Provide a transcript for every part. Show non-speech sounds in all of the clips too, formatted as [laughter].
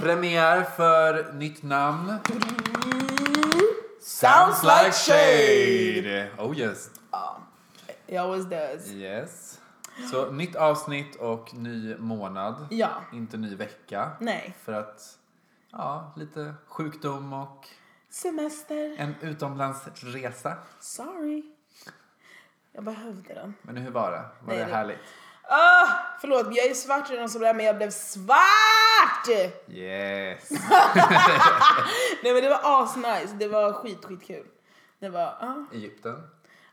premiär för nytt namn. Sounds like shade! Oh yes. It always does. Yes. Så nytt avsnitt och ny månad. Ja. Inte ny vecka. Nej. För att, ja, lite sjukdom och Semester. en utomlandsresa. Sorry. Jag behövde den. Men hur var det? Var Nej, det det- härligt? Ah, förlåt, jag är svart redan som det är, men jag blev svart! Yes! Nej men det var asnice, det var skit, skitkul. Det var, ja. Egypten.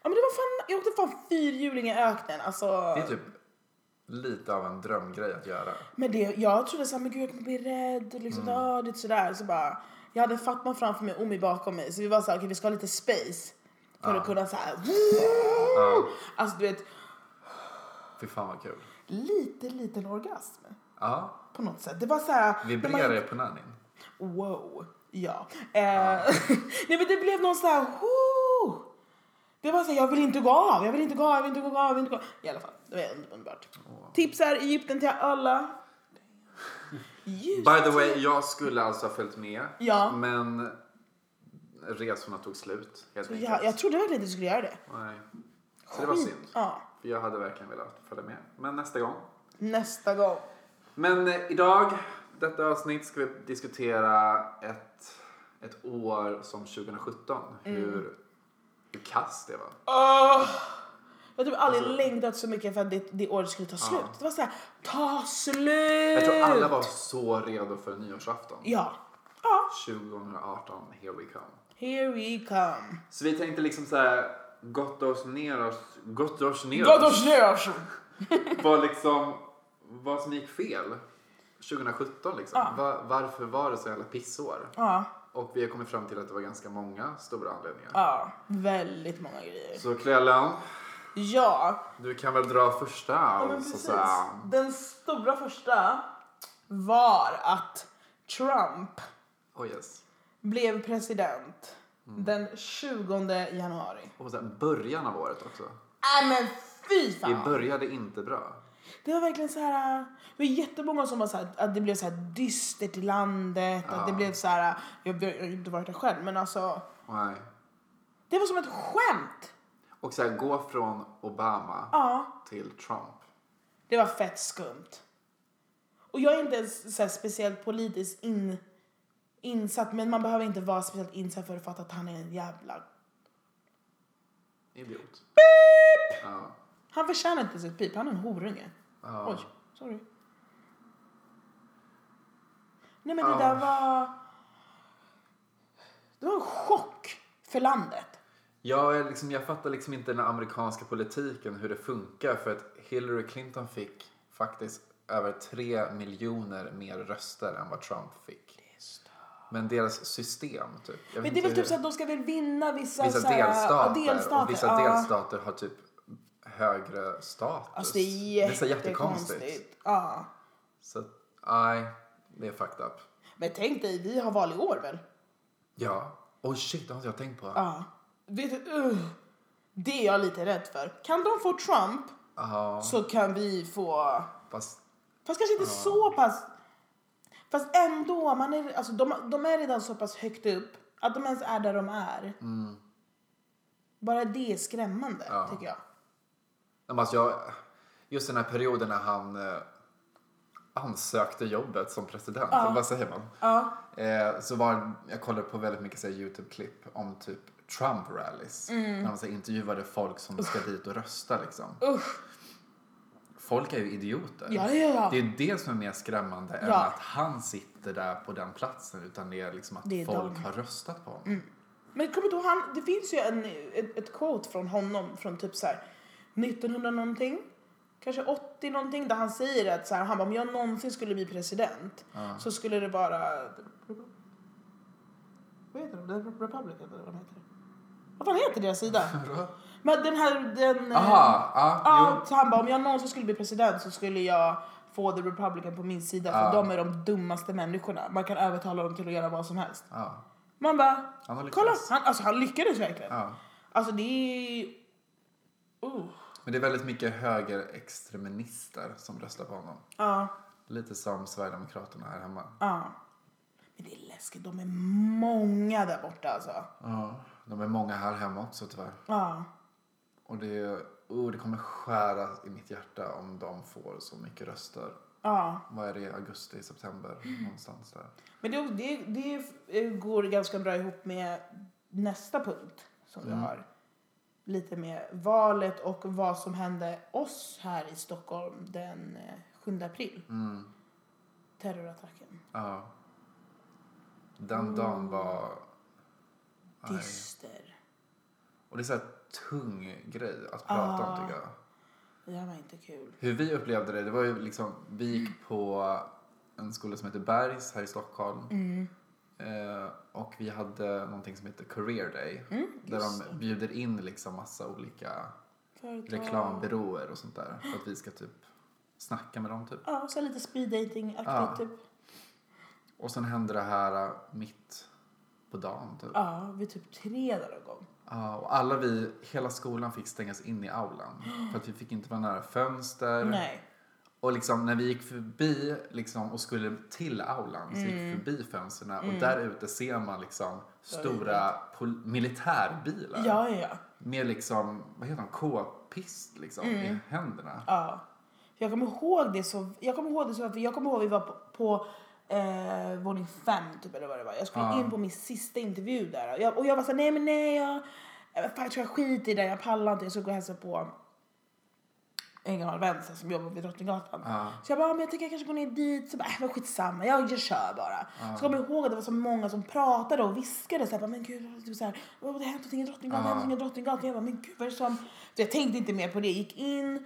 Ja men det var fan, jag åkte fan fyrhjuling i öknen alltså. Det är typ lite av en drömgrej att göra. Men det, jag trodde såhär, men gud jag kommer bli rädd och liksom, Mm. ah, det är sådär. Så bara, jag hade Fatma framför mig och Omi bakom mig. Så vi var såhär, okej vi ska ha lite space. För Ah. att kunna såhär, alltså du vet, Fy fan vad kul. lite liten orgasm. Ja, På något sätt. Det var såhär, vibrera det på nannin. wow. Ja. Eh, [laughs] nej men det blev någon såhär, woo. Det var såhär, jag vill inte gå av, jag vill inte gå av, jag vill inte gå av, jag vill inte gå av. I alla fall, det var under- underbart. Tips är Egypten till alla. By the way, jag skulle alltså ha följt med. Ja. Men resorna tog slut helt enkelt. Jag, jag trodde verkligen att du skulle göra det. Nej. Så det var synd. Ja, För jag hade verkligen velat följa med. Men nästa gång. nästa gång. Men eh, idag, detta avsnitt, ska vi diskutera ett, ett år som 2017. Mm. Hur, hur kass det var. Ah. Åh! Jag har typ Alltså- aldrig längtat så mycket för att det, det året skulle ta slut. Det var såhär, ta slut! Jag tror alla var så redo för nyårsafton. Ja. Ja, 2018, here we come. here we come. Så vi tänkte liksom så här, gott oss ner oss, gott oss ner Gott oss, års nyårs! var liksom vad som gick fel 2017 liksom. Va, varför var det så jävla pissår? Ja, Och vi har kommit fram till att det var ganska många stora anledningar. ja. Väldigt många grejer. Så Clellan, Ja, du kan väl dra första ja men och så precis. säga. Den stora första var att Trump Oh yes. blev president den 20 januari. Och så här, början av året också. Nej men fy fan! Det började inte bra. Det var verkligen så här. äh, Det var jättemånga som var så här, att det blev så här dystert i landet. Att det blev så här. äh, Jag jag har ju inte varit där själv, men alltså. Nej. Det var som ett skämt. Och så här, gå från Obama Ja, till Trump. det var fett skumt. Och jag är inte ens så här speciellt politiskt in, insatt, men man behöver inte vara speciellt insatt för att fatta att han är en jävla... Idiot. Ja. Han förtjänar inte sitt pip, han är en horunge. Ja. Oj, sorry. Nej men det Ja. där var... Det var en chock för landet. Jag, är liksom, jag fattar liksom inte den amerikanska politiken, hur det funkar. För att Hillary Clinton fick faktiskt över 3 miljoner mer röster än vad Trump fick. Men deras system, typ. Jag vet Men det är väl inte typ så hur- att de ska väl vinna vissa, vissa så här- delstater, ja, delstater. Och vissa ja. delstater har typ högre status. Alltså det Det är är så jättekonstigt. jättekonstigt. Ja. Så att, nej, det är fucked up. Men tänk dig, vi har val i år väl? Ja. Oh shit, det har inte jag tänkt på. Ja. Vet du, uh, det är jag lite rädd för. Kan de få Trump Ja, så kan vi få fast Fast kanske inte så pass... Fast ändå, man är, alltså, de, de är redan så pass högt upp att de ens är där de är. Bara det är skrämmande, Mm. Ja. tycker jag. Ja, men Alltså jag, just den här perioden när han eh, ansökte jobbet som president, eller vad säger man? Ja. Eh, så var, jag kollade på väldigt mycket så här YouTube-klipp om typ Trump-rallies. Mm. När de så här, intervjuade folk som ska dit och rösta liksom. Usch. Folk är ju idioter. Ja, ja, ja. Det är ju det som är mer skrämmande än Ja. att han sitter där på den platsen utan det är liksom att Det är folk de. Mm. har röstat på honom. [laughs] Men kommer du ihåg han, det finns ju en, ett, ett quote från honom från typ så här 1900 någonting, kanske 80 någonting, där han säger att så här, han bara, om jag någonsin skulle bli president så skulle det vara... Vad heter de? The Republican eller vad de heter? Vad fan heter deras sida? Vadå? Men den här, den... eh, Aha, ja, Ja, jo. så han bara, om jag någonsin skulle bli president så skulle jag få the republican på min sida för Ja. de är de dummaste människorna. Man kan övertala dem till att göra vad som helst. Ja, Man bara, han har kolla! lyckats. Han, alltså han lyckades verkligen. Ja. Alltså det är... Uh. Men det är väldigt mycket högerextremister som röstar på honom. Ja, Lite som Sverigedemokraterna här hemma. ja. Men det är läskigt, de är många där borta alltså. Ja, de är många här hemma också tyvärr. Ja. Och det, oh, det kommer skära i mitt hjärta om de får så mycket röster. Ja. Vad är det, augusti, september någonstans där. Men det, det, det går ganska bra ihop med nästa punkt som Mm. vi har. Lite med valet och vad som hände oss här i Stockholm den eh, 7 april. Mm. Terrorattacken. Ja. Den dagen var... Nej. Dyster. Och det är så här tung grej att prata om tycker jag. Det här var inte kul. Hur vi upplevde det, det var ju liksom, vi gick på en skola som heter Bergs här i Stockholm. Mm. Eh, och vi hade någonting som heter Career Day. Mm, där de bjuder in liksom massa olika Företag. reklambyråer och sånt där. För att vi ska typ snacka med dem typ. Ja, så lite speed dating aktigt Ja. typ. Och sen hände det här eh, mitt på dagen typ. Ja, vid typ tre där någon gång. Ja, och alla vi, hela skolan fick stängas in i aulan. För att vi fick inte vara nära fönster. Nej. Och liksom när vi gick förbi liksom, och skulle till aulan så gick Mm. vi förbi fönstren och där ute ser man liksom stora pol- militärbilar. Ja, ja, ja. Med liksom, vad heter de, k-pist liksom i händerna. Ja. Jag kommer ihåg det så, jag kommer ihåg det så, för jag kommer ihåg vi var på, på eh, våning fem typ eller vad det var. Jag skulle Ja. in på min sista intervju där och jag, och jag var såhär, nej men nej jag, eh, fan, jag tror jag skiter i det, jag pallar inte, jag ska gå och hälsa på en gammal vän så här som jobbar vid Drottninggatan. Ja. Så jag bara, "Ah, men jag tänker jag kanske går ner dit. Så bara, äh, men skitsamma, jag, jag kör bara. Så kommer jag ihåg att det var så många som pratade och viskade så här, bara, men gud, typ så här, "Åh, det har hänt någonting i Drottninggatan, det har hänt någonting i Drottninggatan. Jag bara, men gud vad är det som... Så jag tänkte inte mer på det, gick in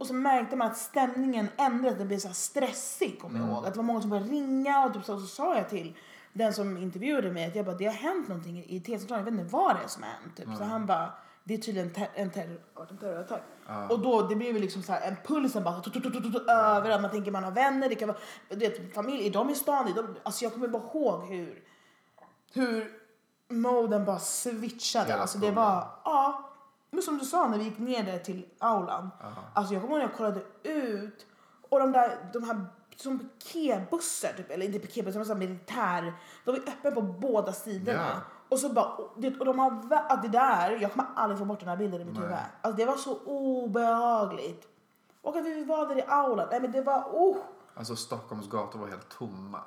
och så märkte man att stämningen ändrades, den blev så här stressig kommer jag ihåg. Att det var många som började ringa och typ så, och så sa jag till den som intervjuade mig att jag bara, det har hänt någonting i T-centralen, jag vet inte vad det är som har hänt. Typ. Så han bara, det är tydligen ter- en, terror, en terrorattack. Och då det blir ju liksom så här, en pulsen bara tut, tut, tut, tut, tut, överallt. Man tänker man har vänner, det kan vara du vet, familj, är de i stan? Är de, alltså jag kommer bara ihåg hur, hur moden bara switchade. Hela Alltså det skolan. var, ja. Men som du sa när vi gick ner där till aulan. Alltså jag kommer ihåg när jag kollade ut och de där, de här som piketbussar typ, eller inte piketbussar men så här militär. De var ju öppna på båda sidorna. Ja. Och så bara, och det, och de har, vä- att det där, jag kommer aldrig få bort den här bilden i mitt Nej. huvud. Alltså det var så obehagligt. Och att vi var där i aulan, nej men det var, oh, Alltså Stockholms gator var helt tomma.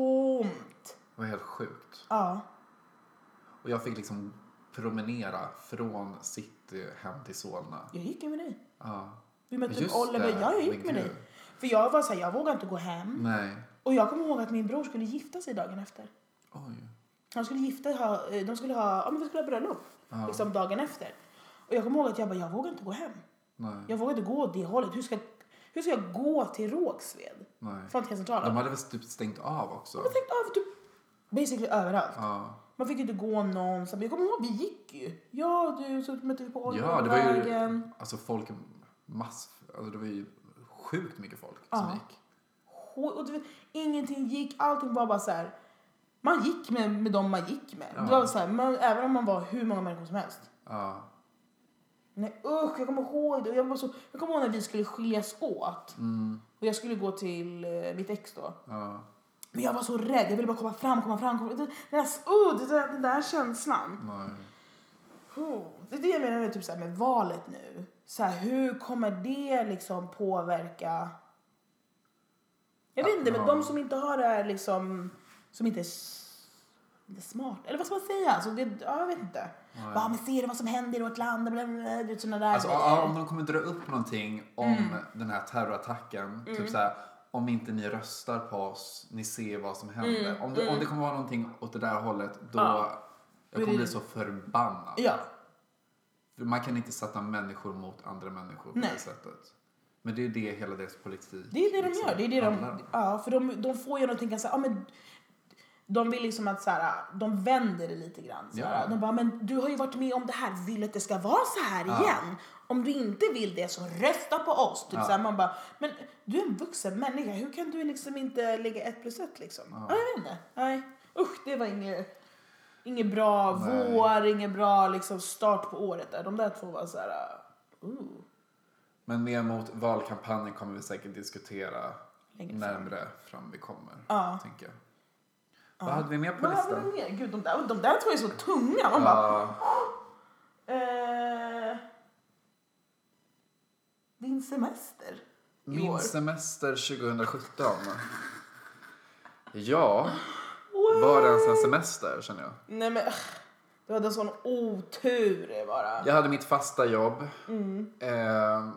tomt. Det var helt sjukt. Ja, Och jag fick liksom promenera från city hem till Solna. jag gick ju med dig. Ja. Vi mötte Just upp Oliver, det, ja jag gick men med gud. dig. För jag var såhär, jag vågar inte gå hem. Nej. Och jag kommer ihåg att min bror skulle gifta sig dagen efter. Oj. Han skulle gifta, ha, eh, de skulle ha, ja men vi skulle ha bröllop. Ja. Liksom dagen efter. Och jag kommer ihåg att jag bara, jag vågar inte gå hem. Nej. Jag vågar inte gå åt det hållet. Hur ska, hur ska jag gå till Rågsved? Nej. Från T-centralen. De hade väl typ stängt av också. Jag tänkte över typ basically överallt. Ja. Man fick ju inte gå någonstans. Jag kommer ihåg, vi gick ju. Ja, du, så mötte vi typ på Ja, det var Oljevägen. ju alltså folk mass, alltså det var ju sjukt mycket folk som Ja. gick. Och, och du vet, ingenting gick. Allting var bara så här. Man gick med, med dem man gick med. Ja. Det var så här, man, även om man var hur många människor som helst. Ja, Nej usch, jag kommer ihåg det. Och Jag, var så, jag kommer ihåg när vi skulle skiljas åt. Mm. Och jag skulle gå till eh, mitt ex då. ja, Men jag var så rädd. Jag ville bara komma fram, komma fram. Komma, den, där, oh, den, där, den där känslan. nej. Oh, Det är det jag menar med, typ så här med valet nu. Så här, hur kommer det liksom påverka... Jag vet inte, men Ja. de som inte har det här liksom... Som inte är, s- inte är smart. Eller vad ska man säga? Alltså, det, ja, jag vet inte. Nej. Bara, "Ah, men ser du vad som händer i vårt land? Bla, bla, bla, du vet, såna där Alltså grejer. ja, om de kommer dra upp någonting om Mm. den här terrorattacken, typ så här om inte ni röstar på oss, ni ser vad som händer. Om, det, om det kommer vara någonting åt det där hållet, då Mm, Ja. jag kommer det- bli så förbannad. Ja. För man kan inte sätta människor mot andra människor på Nej. det sättet. Men det är ju det hela deras politik Det är det de liksom gör. Det är det de, handlar om. ja, för de, de får ju någonting ganska... Ja, men, de vill liksom att så här, de vänder det lite grann. Så här. Ja. De bara, men du har ju varit med om det här, vill att det ska vara så här igen? Om du inte vill det så rösta på oss. Typ så här, man bara, men du är en vuxen människa, hur kan du liksom inte lägga ett plus ett liksom? Ja. jag vet inte. Nej. Usch, det var inget, inget bra Nej. vår, ingen bra liksom, start på året där. De där två var så här, uh, Men mer mot valkampanjen kommer vi säkert diskutera Längre fram. närmre fram vi kommer. Ja. Tänker jag. Vad hade vi mer på Vad hade vi listan? mer? Gud, de där, de där två är så tunga. Man bara... Ja, Eh, din semester i år. min semester 2017. Ja, Wow. var det ens en semester känner jag. Nej men... ugh. Du hade en sån otur eh, bara. Jag hade mitt fasta jobb. Mm. Eh,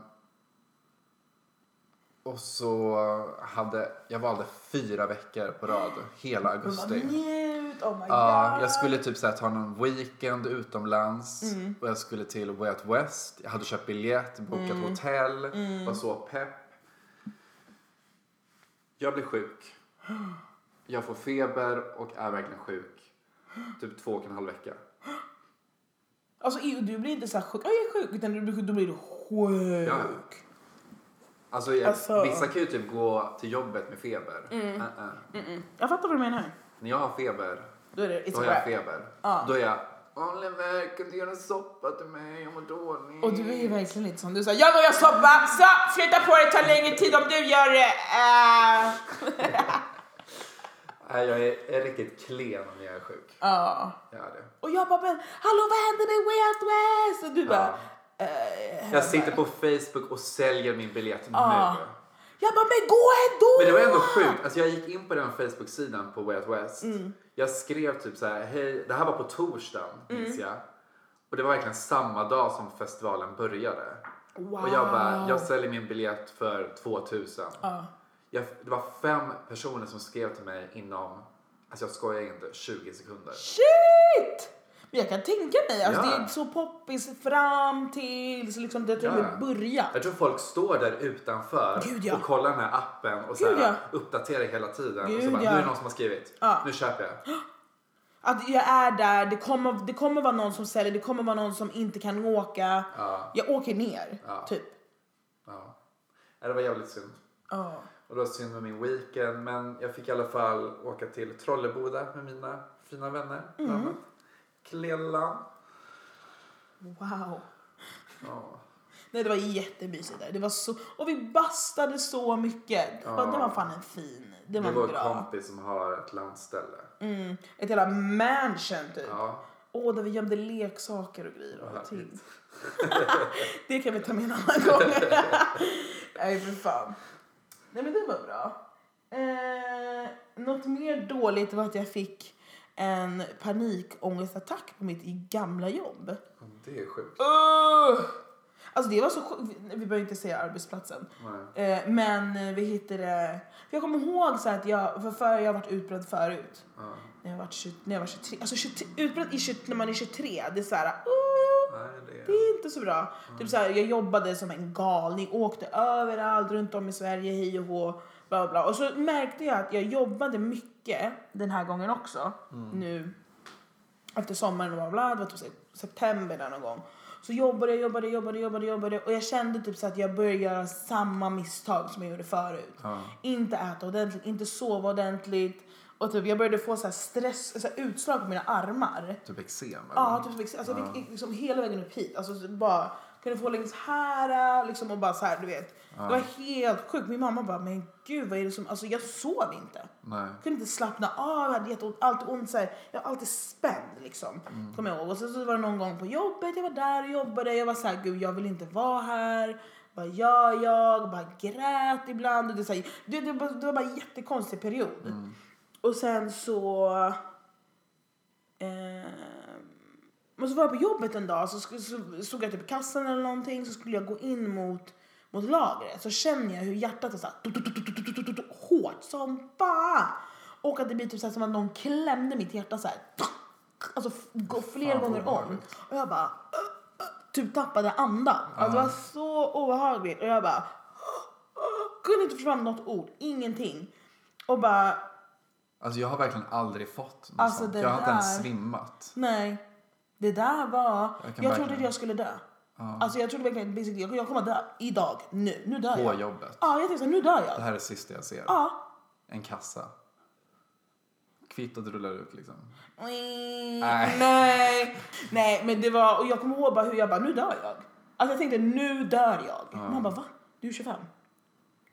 och så hade, jag valde fyra veckor på rad, hela Du bara augusti. njut, oh my Ja, god. jag skulle typ så här, ta någon weekend utomlands Mm. och jag skulle till Way Out West. Jag hade köpt biljett, bokat Mm. hotell, var så pepp. Jag blir sjuk. Jag får feber och är verkligen sjuk. Typ två och en halv vecka. Alltså i- du blir inte så här sjuk, "Åh, jag är sjuk, utan du blir sjuk, då blir du sjuk. Ja. Alltså, jag, Alltså. Mm. vissa kan ju typ gå till jobbet med feber. Uh-uh. Jag fattar vad du menar. När jag har feber, Då är det då it's har a jag wrap. feber. Ja. Då är jag, Oliver kan du göra en soppa till mig? Jag mår dåligt. Och du är ju verkligen lite som du sa, jag vågar soppa, så flytta på det, tar längre tid om du gör det. Äh. Nej, jag är, är riktigt klen när jag är sjuk. Ja. Jag är det. Och jag bara, men hallå vad hände med Way Out West? Och du bara, eh, Jag sitter på Facebook och säljer min biljett Ja. nu. jag bara, men gå ändå! Men det var ändå sjukt. Alltså jag gick in på den Facebook-sidan på Way Out West. Jag skrev typ så här, hej, det här var på torsdagen minns jag. Och det var verkligen samma dag som festivalen började. Wow. Ah. Och jag bara, jag säljer min biljett för 2000. Jag, det var fem personer som skrev till mig inom, alltså jag skojar inte, 20 sekunder. Shit! Men jag kan tänka mig, alltså, Ja. det är så poppis fram tills liksom, det till och med Ja. börjar. Jag tror folk står där utanför Gud, ja. och kollar den här appen och så Gud, här, ja. uppdaterar hela tiden. och så Gud, bara, ja. nu är det någon som har skrivit. Ja. Nu köper jag. Att jag är där, det kommer, det kommer vara någon som säljer, det kommer vara någon som inte kan åka. Ja. Jag åker ner, Ja. typ. Ja. Ja, Det var jävligt synd. Ja. Och det var synd med min weekend. Men jag fick i alla fall åka till Trolleboda med mina fina vänner. Mm. bland annat. Klella. Wow. Ja. Nej, det var jättemysigt där. Det var så, och vi bastade så mycket. Det var, Ja. det var fan en fin, det var, Det var en bra. kompis som har ett landställe. Mm. Ett jävla mansion typ. Ja. Åh, där vi gömde leksaker och grejer och Vad allting. härligt. [laughs] det kan vi ta med en annan gång. [laughs] Nej, för fan. Nej, men det var bra. Eh, något mer dåligt var att jag fick en panikångestattack på mitt gamla jobb. Det är sjukt. Uh! Alltså det var så sjukt. Vi behöver inte säga arbetsplatsen. Nej. Eh, men eh, vi hittade... För jag kommer ihåg så här att jag... För, för jag har varit utbränd förut. Ja. När jag var, 20, när jag var 23. Alltså 23, utbränd i 20, när man är 23. Det är så här... Uh, Nej, det det är... är inte så bra. Typ så här, jag jobbade som en galning. Åkte överallt runt om i Sverige. Hej och hå. Bla, bla, bla. Och så märkte jag att jag jobbade mycket den här gången också. Nu efter sommaren och bla bla, det var typ se- september där någon gång. Så jobbade jag, jobbade, jobbade, jobbade, jobbade och jag kände typ så att jag började göra samma misstag som jag gjorde förut. Ja. Inte äta ordentligt, inte sova ordentligt och typ jag började få så här stress, så här utslag på mina armar. Typ eksem? Ja, typ, liksom- alltså, jag fick liksom hela vägen upp hit. Alltså, så bara, kunde få längs här liksom, och bara så här, du vet. Det var helt sjukt. Min mamma bara, men gud vad är det som, alltså jag sov inte. Nej. Jag kunde inte slappna av, jag hade jätteont, alltid ont. Så här. Jag var alltid spänd liksom. Kommer jag ihåg. Och sen så var det någon gång på jobbet, jag var där och jobbade. Jag var så här, gud jag vill inte vara här. Vad gör jag? Bara grät ibland. Och det, är så här, det, det, var- det var bara en jättekonstig period. Och sen så... Eh, men så var jag på jobbet en dag så, sk- så stod jag typ i kassan eller någonting så skulle jag gå in mot, mot lagret så känner jag hur hjärtat är såhär tut, tut, tut, tut, tut, tut, tut, hårt som fan. Och att det blir typ såhär som att någon klämde mitt hjärta såhär. Alltså f- gå fler Fan, vad gånger om. obehagligt. Och jag bara "Ö, ö", typ tappade andan. Alltså det var så obehagligt och jag bara [gasps] kunde inte få fram något ord, ingenting. Och bara Alltså jag har verkligen aldrig fått något Alltså, sånt. det Jag har inte ens där- svimmat. Nej, det där var... Jag kan Jag, trodde verkligen- att jag skulle dö. Alltså jag trodde verkligen basically, jag- jag kommer att dö idag, nu, nu dör På jag. jobbet. Ja, jag tänkte så här, nu dör Det jag. här är det sista jag ser. Ja. En kassa. Kvittot rullar ut liksom. Mm, Nej. Nej. Nej, men det var, och jag kommer ihåg bara hur jag bara, nu dör jag. Alltså jag tänkte, nu dör jag. Man bara, va? Du är 25?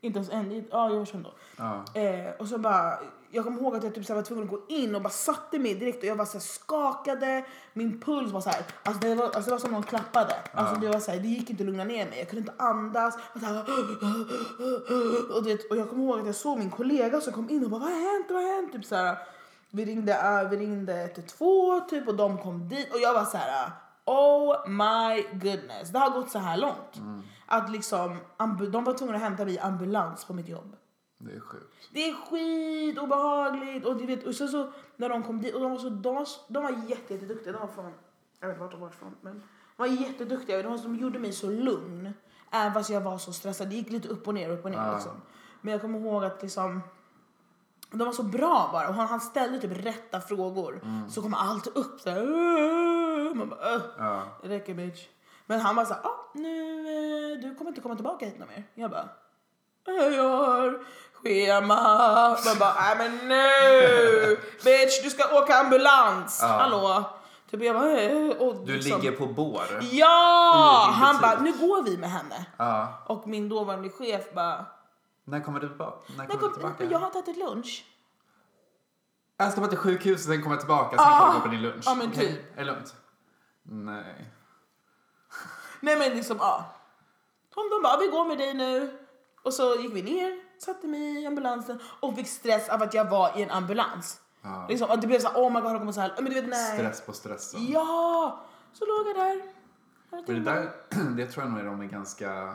Inte ens en, ja jag var 25 då. Ja. Eh, och så bara, jag kommer ihåg att jag typ så här var tvungen att gå in och bara satte mig direkt och jag var så här skakade, min puls var så här, alltså det var, alltså det var som någon klappade. Alltså det var så här, det gick inte att lugna ner mig, jag kunde inte andas. Jag var så här, och, det, och jag kommer ihåg att jag såg min kollega som kom in och bara vad har hänt, vad har hänt? Typ så här, vi ringde, eh, vi ringde 112 typ och de kom dit och jag var så här oh my goodness, det har gått så här långt. Att liksom, ambu- de var tvungna att hämta mig i ambulans på mitt jobb. Det är sjukt. Det är skit obehagligt och du vet och sen så när de kom dit och de var så de, de var jätte, jätteduktiga. De var från jag vet inte vart de var ifrån men de var jätteduktiga. De, var- de gjorde mig så lugn även fast jag var så stressad. Det gick lite upp och ner upp och ner Ah. liksom. Men jag kommer ihåg att liksom de var så bra bara och han, han ställde typ rätta frågor så kom allt upp så här, "Åh!" man bara, "Åh." Ja. Det räcker bitch. Men han var så här, ah, nu, eh, du kommer inte komma tillbaka hit någon mer. Jag bara, jag har schema. Man bara, nej men nu! Bitch, du ska åka ambulans! Ja. Hallå! Typ jag bara, eh, och Du liksom- ligger typ på bår. Ja! i din Han butik. bara, nu går vi med henne. Ja. Och min dåvarande chef bara, När kommer du tillbaka? När nej kommer du kom, tillbaka? men jag har inte ätit lunch. Jag ska bara till sjukhuset, sen kommer jag tillbaka, sen Ah! kan du gå på din lunch. Ja, men Okej? typ. Är det lugnt? Nej. Nej men liksom, ja. Hon de bara, vi går med dig nu. Och så gick vi ner, satte mig i ambulansen och fick stress av att jag var i en ambulans. Ja. Liksom, och det blev så här, oh my god, de kommer så här, men du vet nej. Stress på stressen. Ja! Så låg jag där. Här Men det timmar. där, [clears throat] det tror jag nog är de är ganska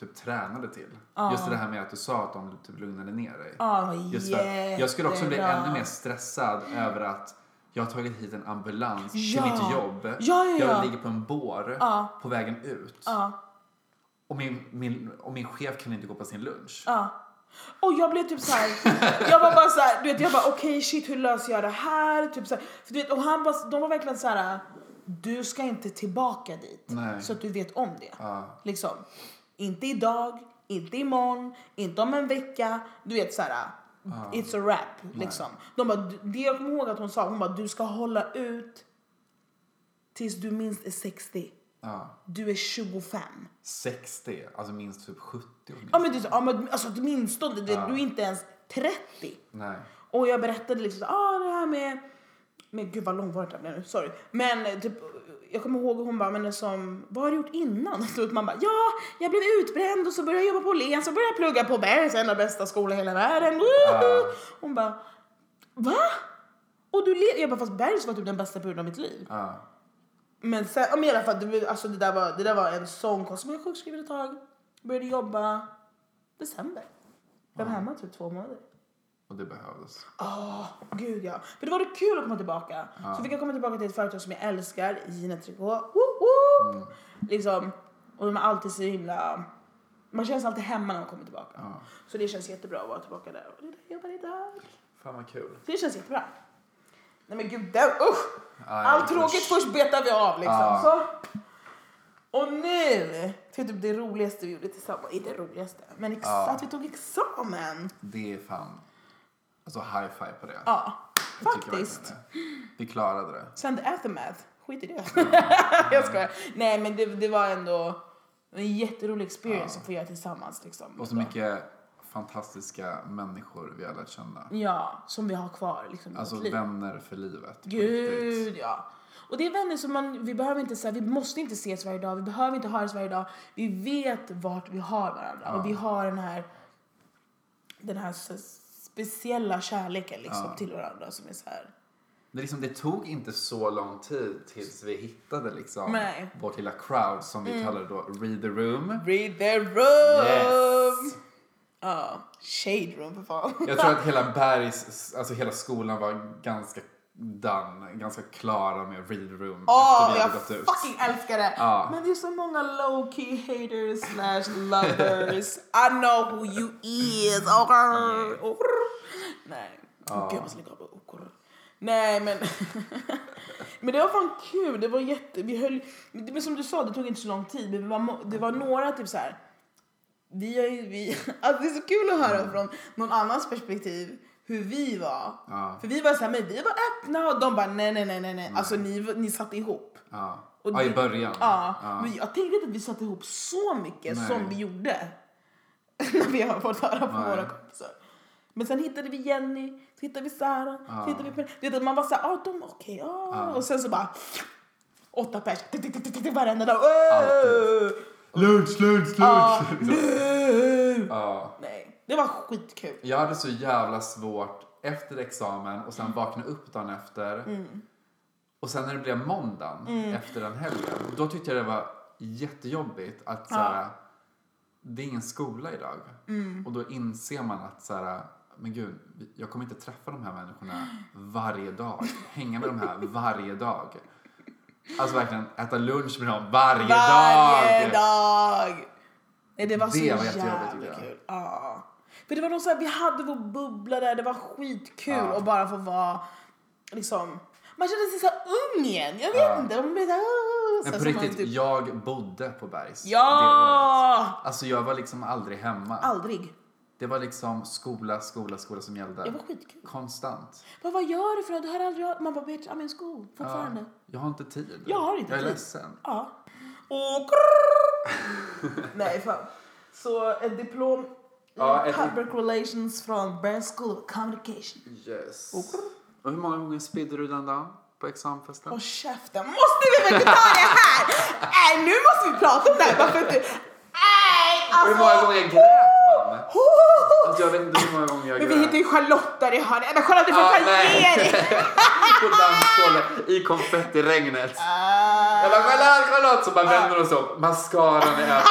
typ tränade till. Just det här med att du sa att de typ lugnade ner dig. Ja, Just för, att jag skulle också bli jättebra. ännu mer stressad över att jag har tagit hit en ambulans Ja. till mitt jobb. Ja, ja, ja. Jag ligger på en bår Ja. på vägen ut. Ja, Och, min, min, och min chef kan inte gå på sin lunch. ja. Och jag blev typ så här. jag var bara så här, du vet jag bara okej shit hur löser jag det här? Typ så här. För du vet, och han bara, de var verkligen så här. du ska inte tillbaka dit. Nej. Så att du vet om det. Ja. Liksom, inte idag, inte imorgon, inte om en vecka. Du vet så här. It's a wrap liksom. De bara, du- det jag kommer ihåg att hon sa, hon bara du ska hålla ut tills du minst är 60. Ja. Du är 25. 60, alltså minst typ 70 Ja åtminstone. men, det är så, ja, men alltså åtminstone, du, vet, du är inte ens 30. Nej. Och jag berättade liksom så, ah, det här med... Men gud vad lång var det där blev nu, sorry. Men eh, typ, jag kommer ihåg hon bara, men det som, vad har du gjort innan? [laughs] Och så ut man bara, ja, jag blev utbränd och så började jag jobba på Åhléns så började jag plugga på Bergs, en av bästa skolor i hela världen. Woohoo! Hon bara, va? Och du le-" Jag bara, fast Bergs var typ den bästa perioden av mitt liv. Ja. Men sen, ja, men i alla fall, det, var- alltså, det, där var, det där var en sån konst. Men jag var sjukskriven ett tag, började jobba december. Jag var hemma typ två månader. Och det behövdes. Åh, gud ja. För då var det kul att komma tillbaka. Så fick jag komma tillbaka till ett företag som jag älskar, Gina Tricot. Mm. Woop, woop. Liksom, och de är alltid så himla... Man känns alltid hemma när man kommer tillbaka. Ja. Så det känns jättebra att vara tillbaka där. Och det är där jag jobbar idag. Fan vad kul. Så det känns jättebra. Nej men gud, den, usch! Aj, Allt tråkigt usch. först betar vi av liksom. Ja. Så. Och nu till typ det roligaste vi gjorde tillsammans. Inte det roligaste, men ex- Ja. att vi tog examen. Det är fan, alltså high five på det. Ja, Jag tycker faktiskt. verkligen det. Vi klarade det. Sen the aftermath, skit i det. [laughs] jag skojar. Nej men det, det var ändå en jätterolig experience att få göra tillsammans. Liksom. Och så mycket fantastiska människor vi har lärt känna. Ja, som vi har kvar liksom, i Alltså vårt liv. vänner för livet. på riktigt. Gud ja. Och det är vänner som man, vi behöver inte säga, vi måste inte ses varje dag, vi behöver inte höras varje dag. Vi vet vart vi har varandra och vi har den här, den här så speciella kärleken liksom till varandra som är så här. Det, är liksom, det tog inte så lång tid tills vi hittade liksom Nej. Mm. vårt lilla crowd som vi kallar det då, Read the Room. Read the room! Yes! Ja, shade room för fan. Jag tror att hela Bergs, alltså hela skolan var ganska done, ganska klara med Read the Room Åh, efter vi Ah, jag hade gått ut. fucking älskar det! Ja. Men det är så många low key haters slash lovers. I know who you is. Okr. Okr. Nej, oh. gud jag måste lägga av på okr. Nej men, [laughs] men det var fan kul. Det var jätte, vi höll, men som du sa det tog inte så lång tid. Men det var, må- det var några typ så här. Vi har ju, vi, [laughs] alltså det är så kul att höra från någon annans perspektiv hur vi var. Mm. Ja. För vi var så här, men vi var öppna och de bara nej, nej, nej, nej, nej. Alltså ni, var- ni satt ihop. Ja. Och ja, i det- början. Ja, men jag tänkte inte att vi satt ihop så mycket Nej. som vi gjorde. [laughs] När vi har fått höra på Nej. våra kompisar. Men sen hittade vi Jenny, så hittade vi Sara, så hittade vi Per- Du vet att man var såhär, ja ah, de, okej, ja. Och sen så bara, åtta pers, tick, tick, tick, tick, tick, varenda dag. Alltid. Lunch, lunch, Ja, lunch! Liksom. nu! [laughs] Ja. Nej, det var skitkul. Jag hade så jävla svårt efter examen och Mm. sen vakna upp dagen efter. Och sen när det blev måndagen Mm. efter den helgen, då tyckte jag det var jättejobbigt att såhär, det är ingen skola idag. Mm. Och då inser man att såhär, men gud, jag kommer inte träffa de här människorna varje dag. Hänga med de här varje dag. Alltså verkligen äta lunch med dem varje, Varje dag! Nej, det var Det så var jättejobbigt, tycker jävla jag. kul. Ja. För det var nog så här, vi hade vår bubbla där, det var skitkul Ja. att bara få vara liksom man kände sig så här ung igen. Jag vet Ja. inte. Man blev så här, "Åh", så Men här på som man riktigt, typ- jag bodde på Bergs det året. Ja! Alltså jag var liksom aldrig hemma. Aldrig. Det var liksom skola, skola, skola som gällde. Det var skitkul. Konstant. Vad, vad gör du för något? Du har aldrig hört... Man bara, Beatrice, I'm in school. Fortfarande. Jag har inte tid. Jag har inte Jag är tid. ledsen. Ja. Och krrrr. Nej, fan. Så ett diplom i Ja, ett- public relations från Bern School of Communication. Yes. Oh. Och hur många gånger spydde du den dagen på examfesten? Håll käften, måste vi verkligen ta det här? Nej, nu måste vi prata om det här. Varför inte? Nej, Och alltså. hur många gånger grät man? Ho, ho, ho. Alltså jag vet inte hur många gånger jag Men grät. vi hittar ju Charlotta i hörnet. Men Charlotta, du får Ja, fan nej. ge dig. På dansgolvet i konfettiregnet. Ah. Jag bara Charlotte, Charlotte! Så bara vänder hon sig om. Mascaran i ögat.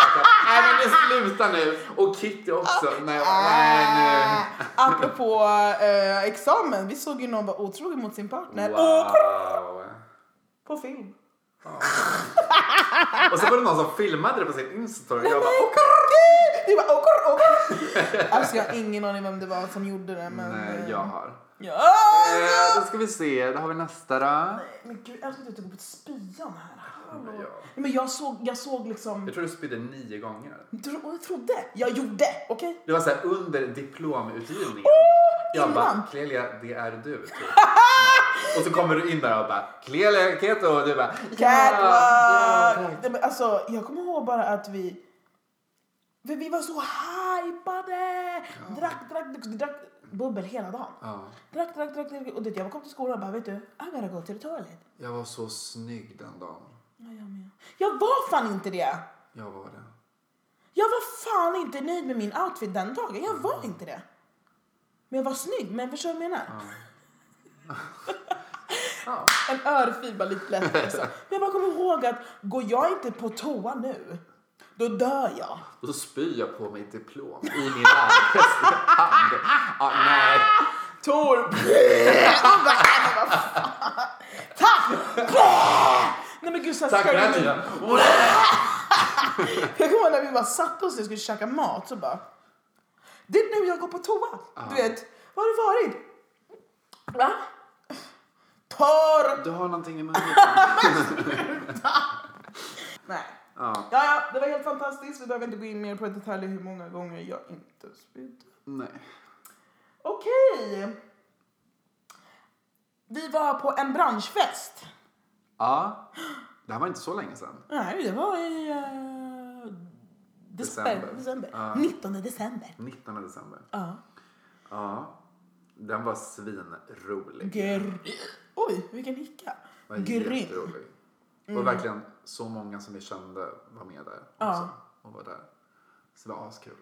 Nej men det slutar nu. Och Kitty också. Nej, jag bara, nej Ah, nu. Apropå eh, examen, vi såg ju någon vara otrogen mot sin partner. Och Wow. på film. Och så var det någon som filmade det på sin Instagram. Jag bara, Nej, gud! Du bara okor, okor. [laughs] Alltså jag har ingen aning vem det var som gjorde det men... Nej, eh, jag har. Ja. Eh, då ska vi se, då har vi nästa då. Men gud, jag trodde att du tog upp spyan här. Hallå. Men Nej, jag- men jag såg, jag såg liksom... Jag tror du spydde nio gånger. Tro, jag trodde. Jag gjorde, okej? Det var så här under diplomutgivningen. jag bara, innan. Clelia, det är du. Typ. och så kommer du in där och bara, Clelia Keto. Och du bara, "Ja, ja, Catwalk! tack." Nej, men alltså, jag kommer ihåg bara att vi... Vi, vi var så hypade! Drack, drack, drack, drack bubbel hela dagen. Ja, Drack, drack, drack, drack. Och det, jag kom till skolan och bara, vet du, I'm gonna go to the toilet. jag var så snygg den dagen. Ja, jag med. Jag var fan inte det! Jag var det. Jag var fan inte nöjd med min outfit den dagen. Jag var inte det. Men jag var snygg, men förstår du vad jag menar? [laughs] Ja. En örfil bara lite lätt. [laughs] Alltså. Men jag bara kommer ihåg att går jag inte på toa nu, då dör jag. Då spyr jag på mig ett diplom i min [laughs] lärarens hand. Ja, nej. Tor! [laughs] Man bara, "Nej, men vad fan." [laughs] Tack! Nej men gud, så här Tack ska för den här jag- tiden. Jag kommer ihåg när vi bara satte oss ner och skulle käka mat så bara. Det är nu jag går på toa. Du vet, var har du varit? Va? Torr! Du har någonting i munnen. Nej. Ja. Ja, ja, det var helt fantastiskt. Vi behöver inte gå in mer på detaljer hur många gånger jag inte spydde. Nej. Okej. Vi var på en branschfest. Ja. Det här var inte så länge sedan. Nej, det var i... eh, December. december. december. Ja. 19 december. 19 december. Ja. Ja. Den var svinrolig. Grym. Oj, vilken hicka. Den var Grym. Mm. jätterolig. Och verkligen så många som vi kände var med där också. Ja. Och var där. Så det var askul.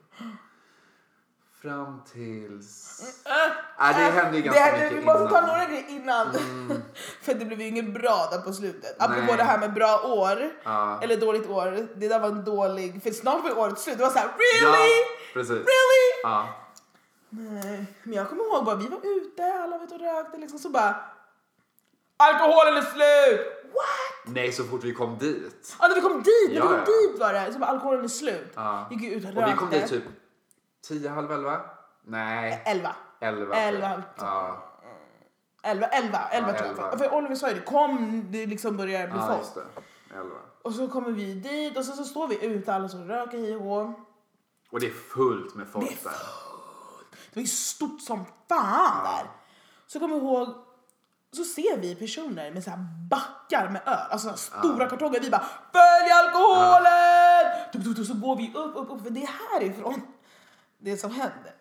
Fram tills... Äh, Nej, det hände ju ganska det- mycket Vi måste ta innan. Mm. några grejer innan. [laughs] För det blev ju inget bra där på slutet. Apropå Nej. det här med bra år. Ja. Eller dåligt år. Det där var en dålig... För snart var ju året slut. Det var såhär Ja, really? precis. Really? Ja. Nej. Men jag kommer ihåg bara vi var ute, alla vet och rökte liksom så bara... Alkoholen är slut! What? Nej, så fort vi kom dit. Ja, när vi kom dit, när Ja, vi kom ja. dit var det. Så bara alkoholen är slut. Ja. Gick ju ut och rökte. Och vi kom dit typ tio, halv elva? Nej, Elva. elva. tror jag. Elva. typ. Ja, Elva, elva, elva Ja, tror jag. elva. För- För Oliver sa ju det, kom det liksom börjar bli ja folk. just det. Elva. Och så kommer vi dit och sen så står vi ute alla som röker hej och hå. Och det är fullt med folk där. Det var ju stort som fan där. Så kommer jag ihåg, så ser vi personer med så här backar med öl, alltså så här stora kartonger. Vi bara FÖLJ ALKOHOLEN! Tuk, tuk, tuk, så går vi upp, upp, upp, för det är härifrån det som händer.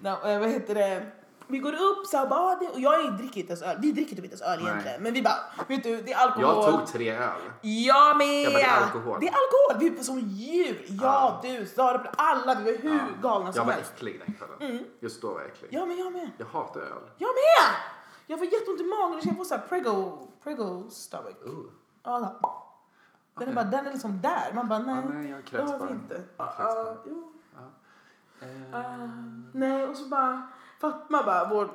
No, eh, vad heter det? Vi går upp så här, bara, ah, det, och jag dricker inte ens öl. Vi dricker typ inte ens öl Nej. egentligen. Men vi bara, vet du, det är alkohol. Jag tog tre öl. Jag med! Jag bara, det är alkohol. Det är alkohol. Vi var som djur. Ja, Ja. du, Sara, Pla- alla. Vi var hur galna Jag som var helst. Mm. äcklig den kvällen. Just då var jag äcklig. Jag med, jag med. Jag hatar öl. Jag med! Jag får jätteont i magen. Jag får så här prego, prego stomach. Uh. Ja, då. Den är, bara, den är liksom där. Man bara, nej. Ah, nej, jag det kräks har bara. vi inte. Jag Ja, kräks bara. ja, jo. Eh, Ah, nej, och så bara Fatma bara, vår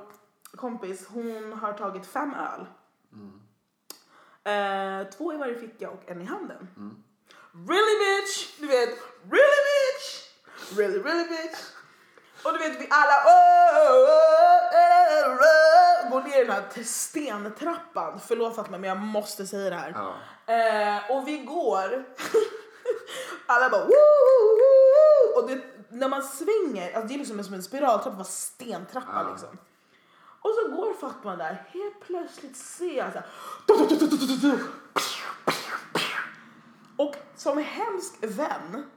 kompis, hon har tagit fem öl. Eh, två i varje ficka och en i handen. Really bitch! Du vet, really bitch! Really, really bitch! Och du vet vi alla oh, oh, oh, oh, oh, går ner i den här t- stentrappan. Förlåt Fatma men jag måste säga det här. Ja. Eh, och vi går. [laughs] Alla bara woo, woo, woo. Och det, när man svänger, alltså det är liksom som en spiraltrappa fast stentrappa Ja. liksom. Och så går Fatma där, helt plötsligt ser jag så här, du, du, du, du, du, du, du. Och som hemsk vän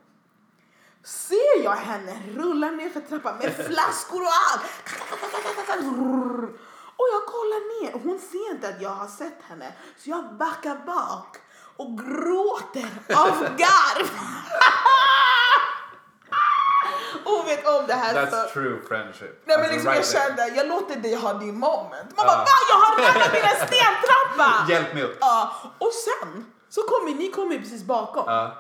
ser jag henne rulla ner för trappan med flaskor och allt. Och jag kollar ner och hon ser inte att jag har sett henne så jag backar bak och gråter av garv. och hon vet om det här. så- That's true friendship. Alltså- Nej men Alltså, liksom jag right there. kände, jag låter dig ha din moment. Man bara Ja. va? Jag har ramlat min [laughs] stentrappa! Hjälp mig upp. Ja, och sen så kommer ni kommer ju precis bakom. Ja.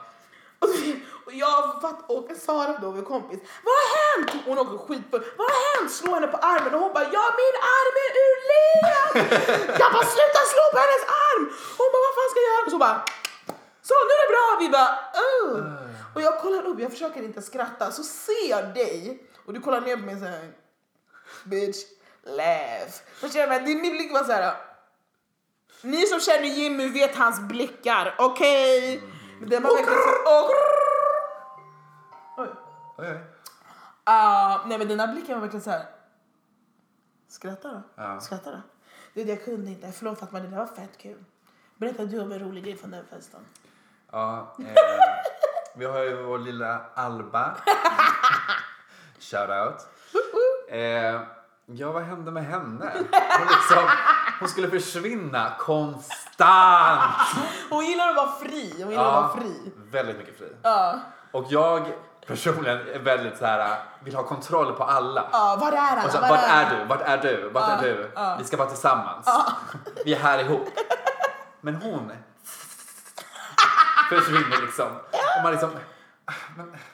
Och, vi- och jag fatt, och Sara då, vår kompis, vad har hänt? Hon åker skitfull. Vad har hänt? Slår henne på armen och hon bara, ja min arm är ur led! [laughs] Jag bara, sluta slå på hennes arm! Hon bara, vad fan ska jag göra? Och så bara, så nu är det bra! Vi bara, oh. Och jag kollar upp, jag försöker inte skratta, så ser jag dig och du kollar ner på mig såhär, bitch, laugh. Förstår du? vad jag menar? Din din blick var såhär, ni som känner Jimmy vet hans blickar, okej? Men den var verkligen så, och... Oj. Oj, oj. Ah, nej men dina blickar var verkligen såhär, skratta då, Ja. skratta då. Det, jag kunde inte, förlåt Fatma, det där var fett kul. Berätta du om en rolig grej från den festen. [laughs] Ja, eh, vi har ju vår lilla Alba. [laughs] Shoutout. Eh, ja, vad hände med henne? Hon, liksom, hon skulle försvinna konstant. Hon gillar att vara fri, hon gillar att vara fri. Väldigt mycket fri. Ja. Och jag personligen är väldigt så här, vill ha kontroll på alla. Ja, var är alla? Och så, Var vart är är du? Vart är du? Vart är du? Vi ska vara tillsammans. [laughs] Vi är här ihop. Men hon [laughs] försvinner liksom. Och man liksom,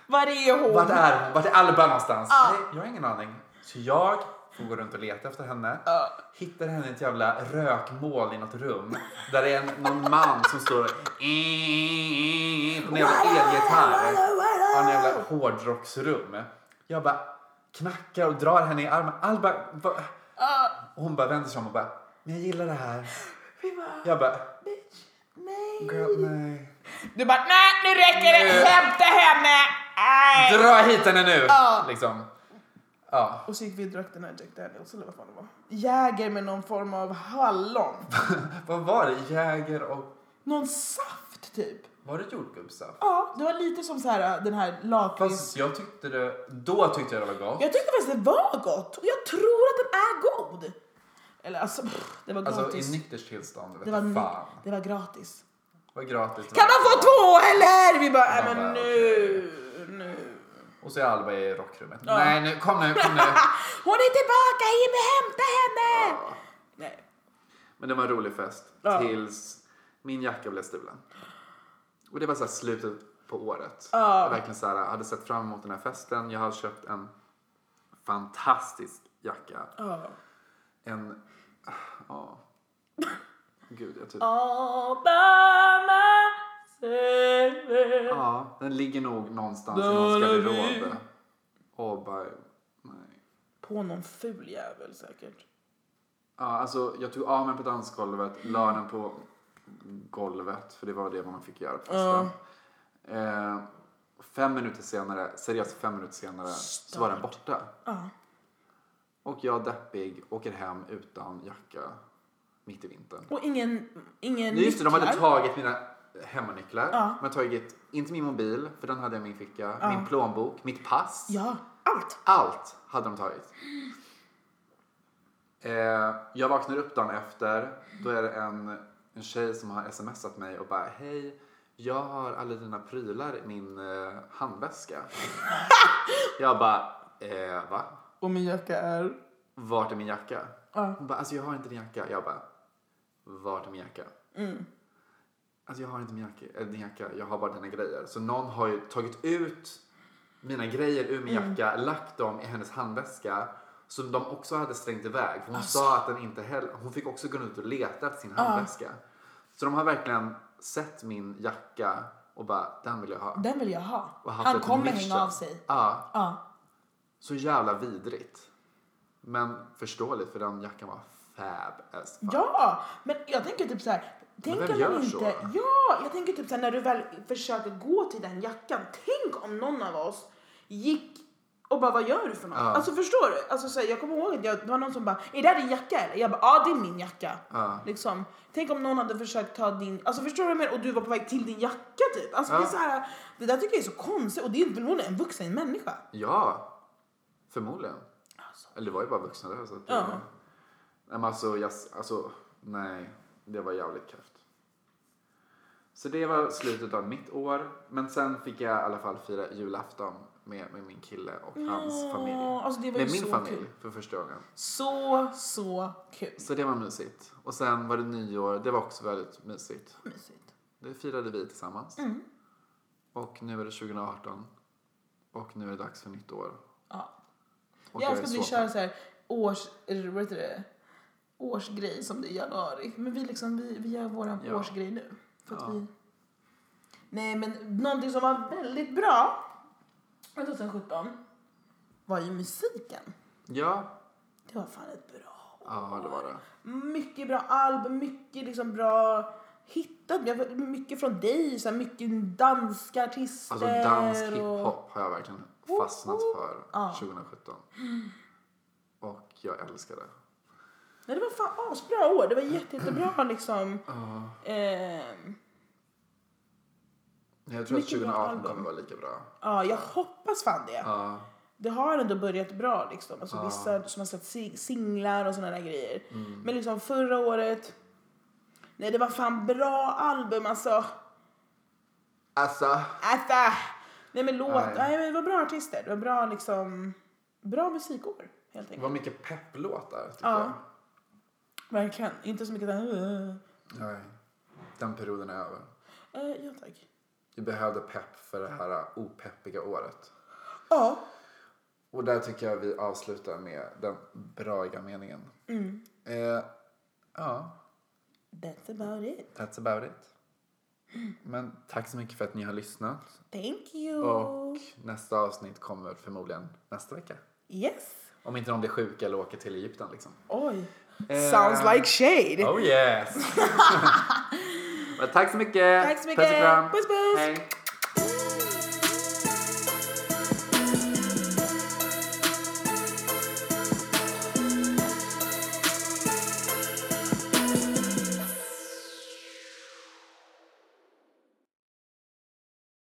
Var är hon? vart är hon? Vart är Alba någonstans? Nej, jag har ingen aning. Så jag får gå runt och leta efter henne. Ja. Hittar henne i ett jävla rökmål i något rum. Där det är en, någon man som står [laughs] på en jävla elgitarr. Ja, en Ah. jävla hårdrocksrum. Jag bara knackar och drar henne i armen. Alba, va? Ja, Och hon bara vänder sig om och bara, men jag gillar det här. vi bara, Jag bara, bitch, nej. girl, nej. Du bara, nej nu räcker Nu. det, hämta henne! Nej. Dra hit henne nu! Ja. Liksom. Ja. Och så gick vi och drack den här Jack Daniels eller vad fan det var. Jäger med någon form av hallon. Vad var det? Jäger och, Någon saft typ. var det jordgubbssaft? Ja, det var lite som så här äh, den här lakrits... Fast jag tyckte det, då tyckte jag det var gott. Jag tyckte faktiskt det var gott. Och jag tror att den är god. Eller alltså, pff, det var Alltså gratis. i nyktert tillstånd, vet det, var, du ny- fan. det var gratis. Det var gratis. Kan man få två eller? Vi bara, Man nej men bara, nu, nu. Och så är Alba i rockrummet. Ja. Nej, nu, kom nu, kom nu. [laughs] Hon är tillbaka, Jimmy hämta henne! Ja. Nej. Men det var en rolig fest. Ja. Tills min jacka blev stulen. Och det var så här slutet på året. Ja. Jag verkligen så här, hade sett fram emot den här festen. Jag hade köpt en fantastisk jacka. Ja. En... ah, Ja. Gud, jag typ... All by myself. Ja, den ligger nog någonstans i Där någons är vi. garderob. Och bara... Nej. På någon ful jävel säkert. Ja, alltså jag tog av mig på dansgolvet, la den på golvet, för det var det man fick göra på festen. Eh, fem minuter senare, seriöst fem minuter senare, så var den borta. Ja. Och jag deppig åker hem utan jacka mitt i vintern. Och ingen, ingen Nej, Just det, de hade nycklar. tagit mina hemmanycklar. Ja. De hade tagit, inte min mobil, för den hade jag i min ficka, Ja. min plånbok, mitt pass. Ja, Allt. Allt hade de tagit. Eh, jag vaknar upp dagen efter. Då är det en, en tjej som har smsat mig och bara hej. Jag har alla dina prylar i min eh, handväska. jag bara, eh, va? Och min jacka är... Vart är min jacka? Ja. Hon bara, alltså jag har inte din jacka. Jag bara, vart är min jacka? Mm. Alltså jag har inte min jacka, eller din jacka, jag har bara dina grejer. Så någon har ju tagit ut mina grejer ur Mm. min jacka, lagt dem i hennes handväska. Som de också hade slängt iväg. För hon Alltså. sa att den inte heller, hon fick också gå ut och leta efter sin handväska. Så de har verkligen sett min jacka och bara, den vill jag ha. Den vill jag ha. Och haft Han ett kommer mission. hänga av sig. Ja, Ja. så jävla vidrigt. Men förståeligt för den jackan var fab as fuck. Ja, men jag tänker typ så här. vem Tänker gör man inte... så? Ja, jag tänker typ så här, när du väl försöker gå till den jackan. Tänk om någon av oss gick och bara, vad gör du för något? Ja. Alltså förstår du? Alltså, så här, jag kommer ihåg att jag, det var någon som bara, är det här din jacka eller? Jag bara, ja det är min jacka. Ja. Liksom. Tänk om någon hade försökt ta din, alltså förstår du vad jag menar? Och du var på väg till din jacka typ. Alltså det Ja. är så här, det där tycker jag är så konstigt. Och det är ju förmodligen en vuxen människa. Ja, förmodligen. Alltså. Eller det var ju bara vuxna där. Så att Ja. nej, men alltså, jag, alltså, nej, det var jävligt kräft. Så det var slutet av mitt år. Men sen fick jag i alla fall fira julafton med, med min kille och hans Ja, familj. Alltså det var Med ju min så familj kul. för första gången. Så, så kul. Så det var mysigt. Och sen var det nyår. Det var också väldigt mysigt. Mysigt. Det firade vi tillsammans. Mm. Och nu är det 2018. Och nu är det dags för nytt år. Ja. Och jag är älskar att vi så kör så här års, eller vad heter det, årsgrej som det är i januari. Men vi, liksom, vi, vi gör vår Ja. årsgrej nu. För att Ja. vi... Nej men någonting som var väldigt bra med 2017 var ju musiken. Ja, Det var fan ett bra ja det var det. Mycket bra album, mycket liksom bra hittat. Jag har fått Mycket från dig, så här, mycket danska artister. Alltså dansk och- hiphop har jag verkligen fastnat för Ja. 2017. Och jag älskar det. Nej, det var fan asbra år. Det var jätte, [clears throat] jättebra liksom. Ehm, Nej, Jag tror att Mycket bra 2018 album. kommer vara lika bra. Ja, jag hoppas fan det. Ja, Det har ändå börjat bra liksom. Alltså vissa som har släppt si- singlar och såna där grejer. Mm. Men liksom förra året. Nej, det var fan bra album alltså. Alltså, Äta. Nej men låt. Nej. Nej. men det var bra artister. Det var bra liksom. Bra musikår helt det enkelt. var mycket pepplåtar tycker Ja. Verkligen. Inte så mycket den. Uh, jag. Nej, den perioden är över. Eh, ja tack. Vi behövde pepp för det här uh, opeppiga året. Ja. Och där tycker jag vi avslutar med den braiga meningen. Mm. Eh, ja, That's about it. that's about it. Men tack så mycket för att ni har lyssnat. Thank you. Och nästa avsnitt kommer förmodligen nästa vecka. Yes. Om inte de blir sjuka eller åker till Egypten [laughs] liksom. Oj. Eh. Sounds like shade. [laughs] Oh yes! Men tack så mycket! Tack så mycket. Puss och kram. Puss, puss. Hej.